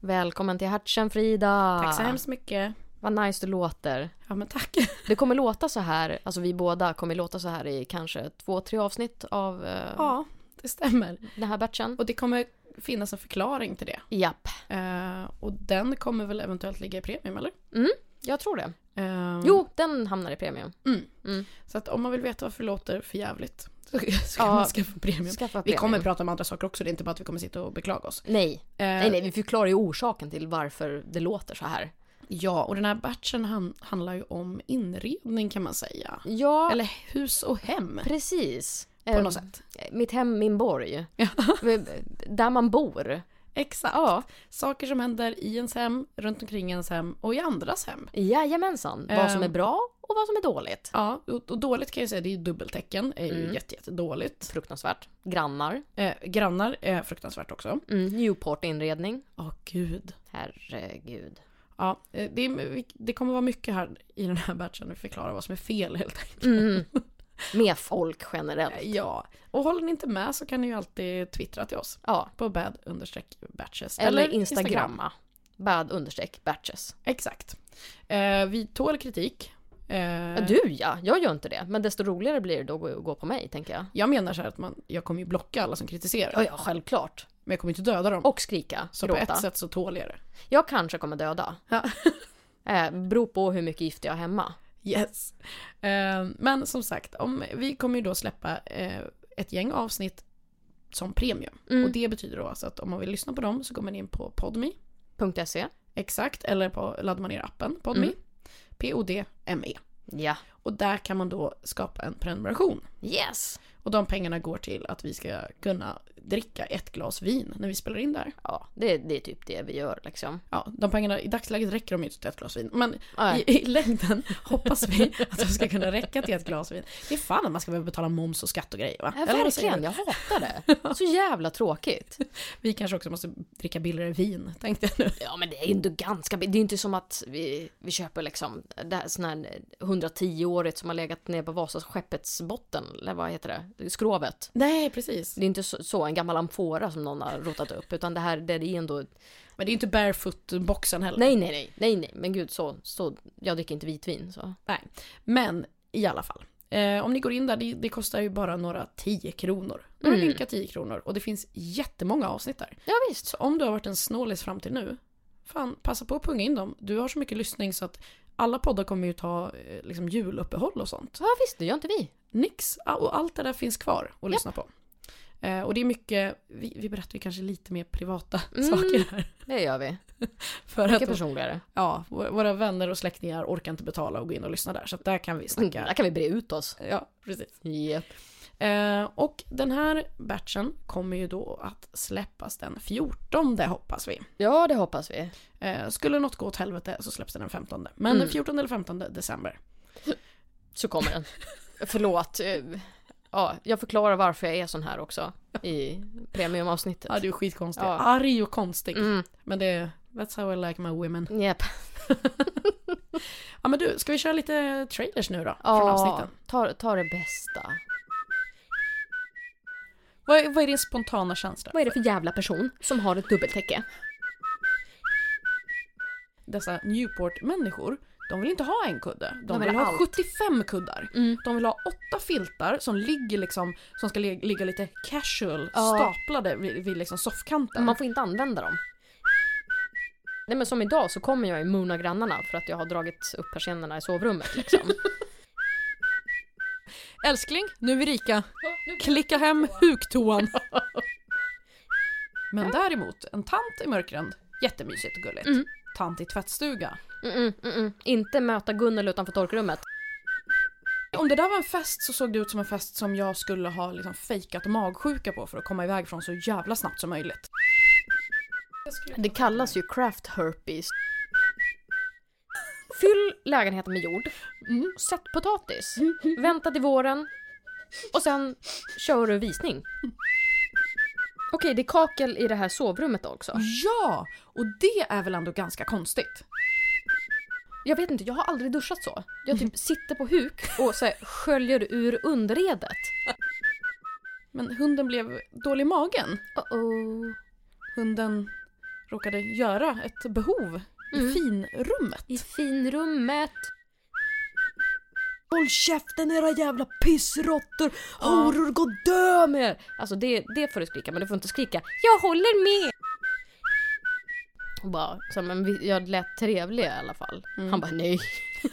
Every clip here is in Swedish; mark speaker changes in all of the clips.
Speaker 1: Välkommen till Hertzen Frida!
Speaker 2: Tack så hemskt mycket.
Speaker 1: Vad nice du låter.
Speaker 2: Ja men tack.
Speaker 1: Det kommer låta så här, alltså vi båda kommer låta så här i kanske två, tre avsnitt av eh,
Speaker 2: Ja, det stämmer.
Speaker 1: den här batchen.
Speaker 2: Och det kommer finnas en förklaring till det.
Speaker 1: Japp,
Speaker 2: Eh, och den kommer väl eventuellt ligga i premium eller?
Speaker 1: jag tror det.
Speaker 2: Eh,
Speaker 1: Jo, den hamnar i premium.
Speaker 2: Mm.
Speaker 1: Mm.
Speaker 2: Så att om man vill veta varför det låter för jävligt så ska
Speaker 1: Ja.
Speaker 2: man skaffa premium.
Speaker 1: Skaffa
Speaker 2: Mm. Vi
Speaker 1: premium.
Speaker 2: kommer prata om andra saker också, det är inte bara att vi kommer sitta och beklaga oss.
Speaker 1: Nej.
Speaker 2: Eh,
Speaker 1: nej, nej, vi förklarar ju orsaken till varför det låter så här.
Speaker 2: Ja, och den här batchen han, handlar ju om inredning kan man säga.
Speaker 1: Ja,
Speaker 2: Eller hus och hem
Speaker 1: precis.
Speaker 2: på
Speaker 1: Eh,
Speaker 2: något sätt.
Speaker 1: Mitt hem, min borg. Där man bor.
Speaker 2: Exakt.
Speaker 1: Ja,
Speaker 2: Saker som händer i ens hem, runt omkring ens hem och i andras hem.
Speaker 1: jajamensan. Vad som är
Speaker 2: Ehm.
Speaker 1: bra och vad som är dåligt.
Speaker 2: Ja, och och dåligt kan jag säga, det är ju dubbeltecken, är ju
Speaker 1: Mm.
Speaker 2: jätte, jätte dåligt.
Speaker 1: Fruktansvärt. Grannar.
Speaker 2: Eh, grannar är fruktansvärt också.
Speaker 1: Mm. Newport-inredning.
Speaker 2: Ja, gud.
Speaker 1: Herregud.
Speaker 2: Ja, eh, det, är, det kommer vara mycket här i den här batchen, vi förklarar vad som är fel helt enkelt.
Speaker 1: Mm. Med folk generellt.
Speaker 2: Ja, och håller ni inte med så kan ni ju alltid twittra till oss
Speaker 1: Ja.
Speaker 2: på bad understreck batches.
Speaker 1: Eller, Instagramma. Bad understreck batches.
Speaker 2: Exakt. Eh, vi tål kritik. Eh,
Speaker 1: Ja, du ja, jag gör inte det. Men desto roligare blir det då att gå- gå på mig tänker jag.
Speaker 2: Jag menar så här att man, jag kommer ju blocka alla som kritiserar,
Speaker 1: Ja, ja, självklart.
Speaker 2: men jag kommer inte döda dem.
Speaker 1: Och skrika,
Speaker 2: så på
Speaker 1: gråta.
Speaker 2: ett sätt så tål jag det.
Speaker 1: Jag kanske kommer döda.
Speaker 2: Ja.
Speaker 1: eh, beror på hur mycket gift jag har hemma.
Speaker 2: Yes. Eh, men som sagt, om, vi kommer ju då släppa eh, ett gäng avsnitt som premium.
Speaker 1: Mm.
Speaker 2: Och det betyder då alltså att om man vill lyssna på dem så går man in på Podme.
Speaker 1: .se.
Speaker 2: Exakt, eller på, laddar man ner appen Podme.
Speaker 1: Mm.
Speaker 2: P-O-D-M-E.
Speaker 1: Ja.
Speaker 2: E. Och där kan man då skapa en prenumeration.
Speaker 1: Yes!
Speaker 2: Och de pengarna går till att vi ska kunna dricka ett glas vin när vi spelar in där.
Speaker 1: Ja, det, det är typ det vi gör liksom.
Speaker 2: Ja, de pengarna, i dagsläget räcker de ju inte till ett glas vin. Men
Speaker 1: Nej.
Speaker 2: i, i längden hoppas vi att de ska kunna räcka till ett glas vin. Det är fan att man ska behöva betala moms och skatt och grejer va?
Speaker 1: Ja,
Speaker 2: Eller vad säger
Speaker 1: verkligen,
Speaker 2: du?
Speaker 1: jag hatar det. Så jävla tråkigt.
Speaker 2: Vi kanske också måste dricka billigare vin, tänkte jag nu.
Speaker 1: Ja men det är ju ändå ganska, det är ju inte som att vi, vi köper liksom det här, sån här 110-årigt som har legat ner på Vasaskeppets botten, eller vad heter det, skrovet.
Speaker 2: Nej, precis.
Speaker 1: Det är inte så, så en gammal amfora som någon har rotat upp, utan det här det är ändå,
Speaker 2: Men det är ju inte barefoot-boxen heller.
Speaker 1: nej nej nej, nej nej, men gud så, så, jag dricker inte vitvin så.
Speaker 2: Nej. Men i alla fall. Eh, om ni går in där, det, det kostar ju bara några 10 kronor. Några
Speaker 1: Mm.
Speaker 2: rynka 10 kronor. Och det finns jättemånga avsnitt där.
Speaker 1: Ja visst.
Speaker 2: Så om du har varit en snålis fram till nu, fan passa på att punga in dem. Du har så mycket lyssning så att alla poddar kommer ju ta eh, liksom, juluppehåll och sånt.
Speaker 1: Ja visst, det gör inte vi.
Speaker 2: Nix ah, och allt det där finns kvar att lyssna på. Eh, och det är mycket, vi, vi berättar ju kanske lite mer privata
Speaker 1: Mm.
Speaker 2: saker här.
Speaker 1: Det gör vi.
Speaker 2: För
Speaker 1: Mycket
Speaker 2: att
Speaker 1: personligare.
Speaker 2: ja, vå- våra vänner och släktingar orkar inte betala och gå in och lyssna där. Så att där kan vi
Speaker 1: Där
Speaker 2: snacka.
Speaker 1: kan vi bre ut oss.
Speaker 2: Ja, precis.
Speaker 1: Yep.
Speaker 2: Eh, och den här batchen kommer ju då att släppas den 14 hoppas vi.
Speaker 1: Ja det hoppas vi.
Speaker 2: Eh, skulle något gå åt helvete så släpps den den 15. Men
Speaker 1: Mm.
Speaker 2: den 14 eller 15 december.
Speaker 1: så kommer den. Förlåt. eh, Ja, jag förklarar varför jag är sån här också i premiumavsnittet.
Speaker 2: Ja, du är skitkonstig.
Speaker 1: Ja.
Speaker 2: Arg och konstig.
Speaker 1: Mm,
Speaker 2: Men det är, that's how I like my women.
Speaker 1: yep.
Speaker 2: Ja men du, ska vi köra lite trailers nu då? Från
Speaker 1: Ja,
Speaker 2: avsnitten.
Speaker 1: ta, ta det bästa.
Speaker 2: Vad är, vad är din spontana känsla?
Speaker 1: Vad är det för jävla person som har ett dubbeltäcke?
Speaker 2: Dessa Newport-människor, de vill inte ha en kudde. De,
Speaker 1: De vill
Speaker 2: vill, ha
Speaker 1: allt.
Speaker 2: 75 kuddar.
Speaker 1: Mm.
Speaker 2: De vill ha åtta filtar som ligger liksom, som ska lig- ligga lite casual,
Speaker 1: Ja.
Speaker 2: staplade vid, vid liksom soffkanten.
Speaker 1: Man får inte använda dem. Nej men som idag så kommer jag ju mona grannarna för att jag har dragit upp persiennerna i sovrummet liksom.
Speaker 2: Älskling, nu är vi rika. Klicka hem huktoan. Men däremot, en tant i mörkren, jättemysigt och gulligt.
Speaker 1: Mm.
Speaker 2: Tant i tvättstuga.
Speaker 1: Mm-mm, mm-mm. mm, Inte möta Gunnel utanför torkrummet.
Speaker 2: Om det där var en fest så såg det ut som en fest som jag skulle ha liksom fejkat magsjuka på för att komma iväg från så jävla snabbt som möjligt.
Speaker 1: Det kallas ju craft herpes. Fyll lägenheten med jord.
Speaker 2: Mm.
Speaker 1: Sätt potatis. Vänta till våren. Och sen kör du visning. Okej, det är kakel i det här sovrummet också.
Speaker 2: Ja! Och det är väl ändå ganska konstigt?
Speaker 1: Jag vet inte, jag har aldrig duschat så. Jag typ sitter på huk och så här, sköljer ur underredet.
Speaker 2: Men hunden blev dålig i magen.
Speaker 1: Uh-oh.
Speaker 2: Hunden råkade göra ett behov i
Speaker 1: Mm.
Speaker 2: finrummet.
Speaker 1: I finrummet.
Speaker 3: Håll käften era jävla pissråttor! Horor, gå och dö med er!
Speaker 1: Alltså det, det får du skrika, men du får inte skrika “Jag håller med!” Och bara, så, men vi- jag lät trevlig i alla fall.
Speaker 2: Mm.
Speaker 1: Han bara “Nej,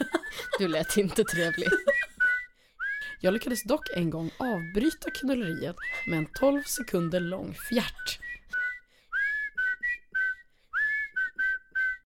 Speaker 1: du lät inte trevlig”.
Speaker 2: Jag lyckades dock en gång avbryta knulleriet med en 12 sekunder lång fjärt.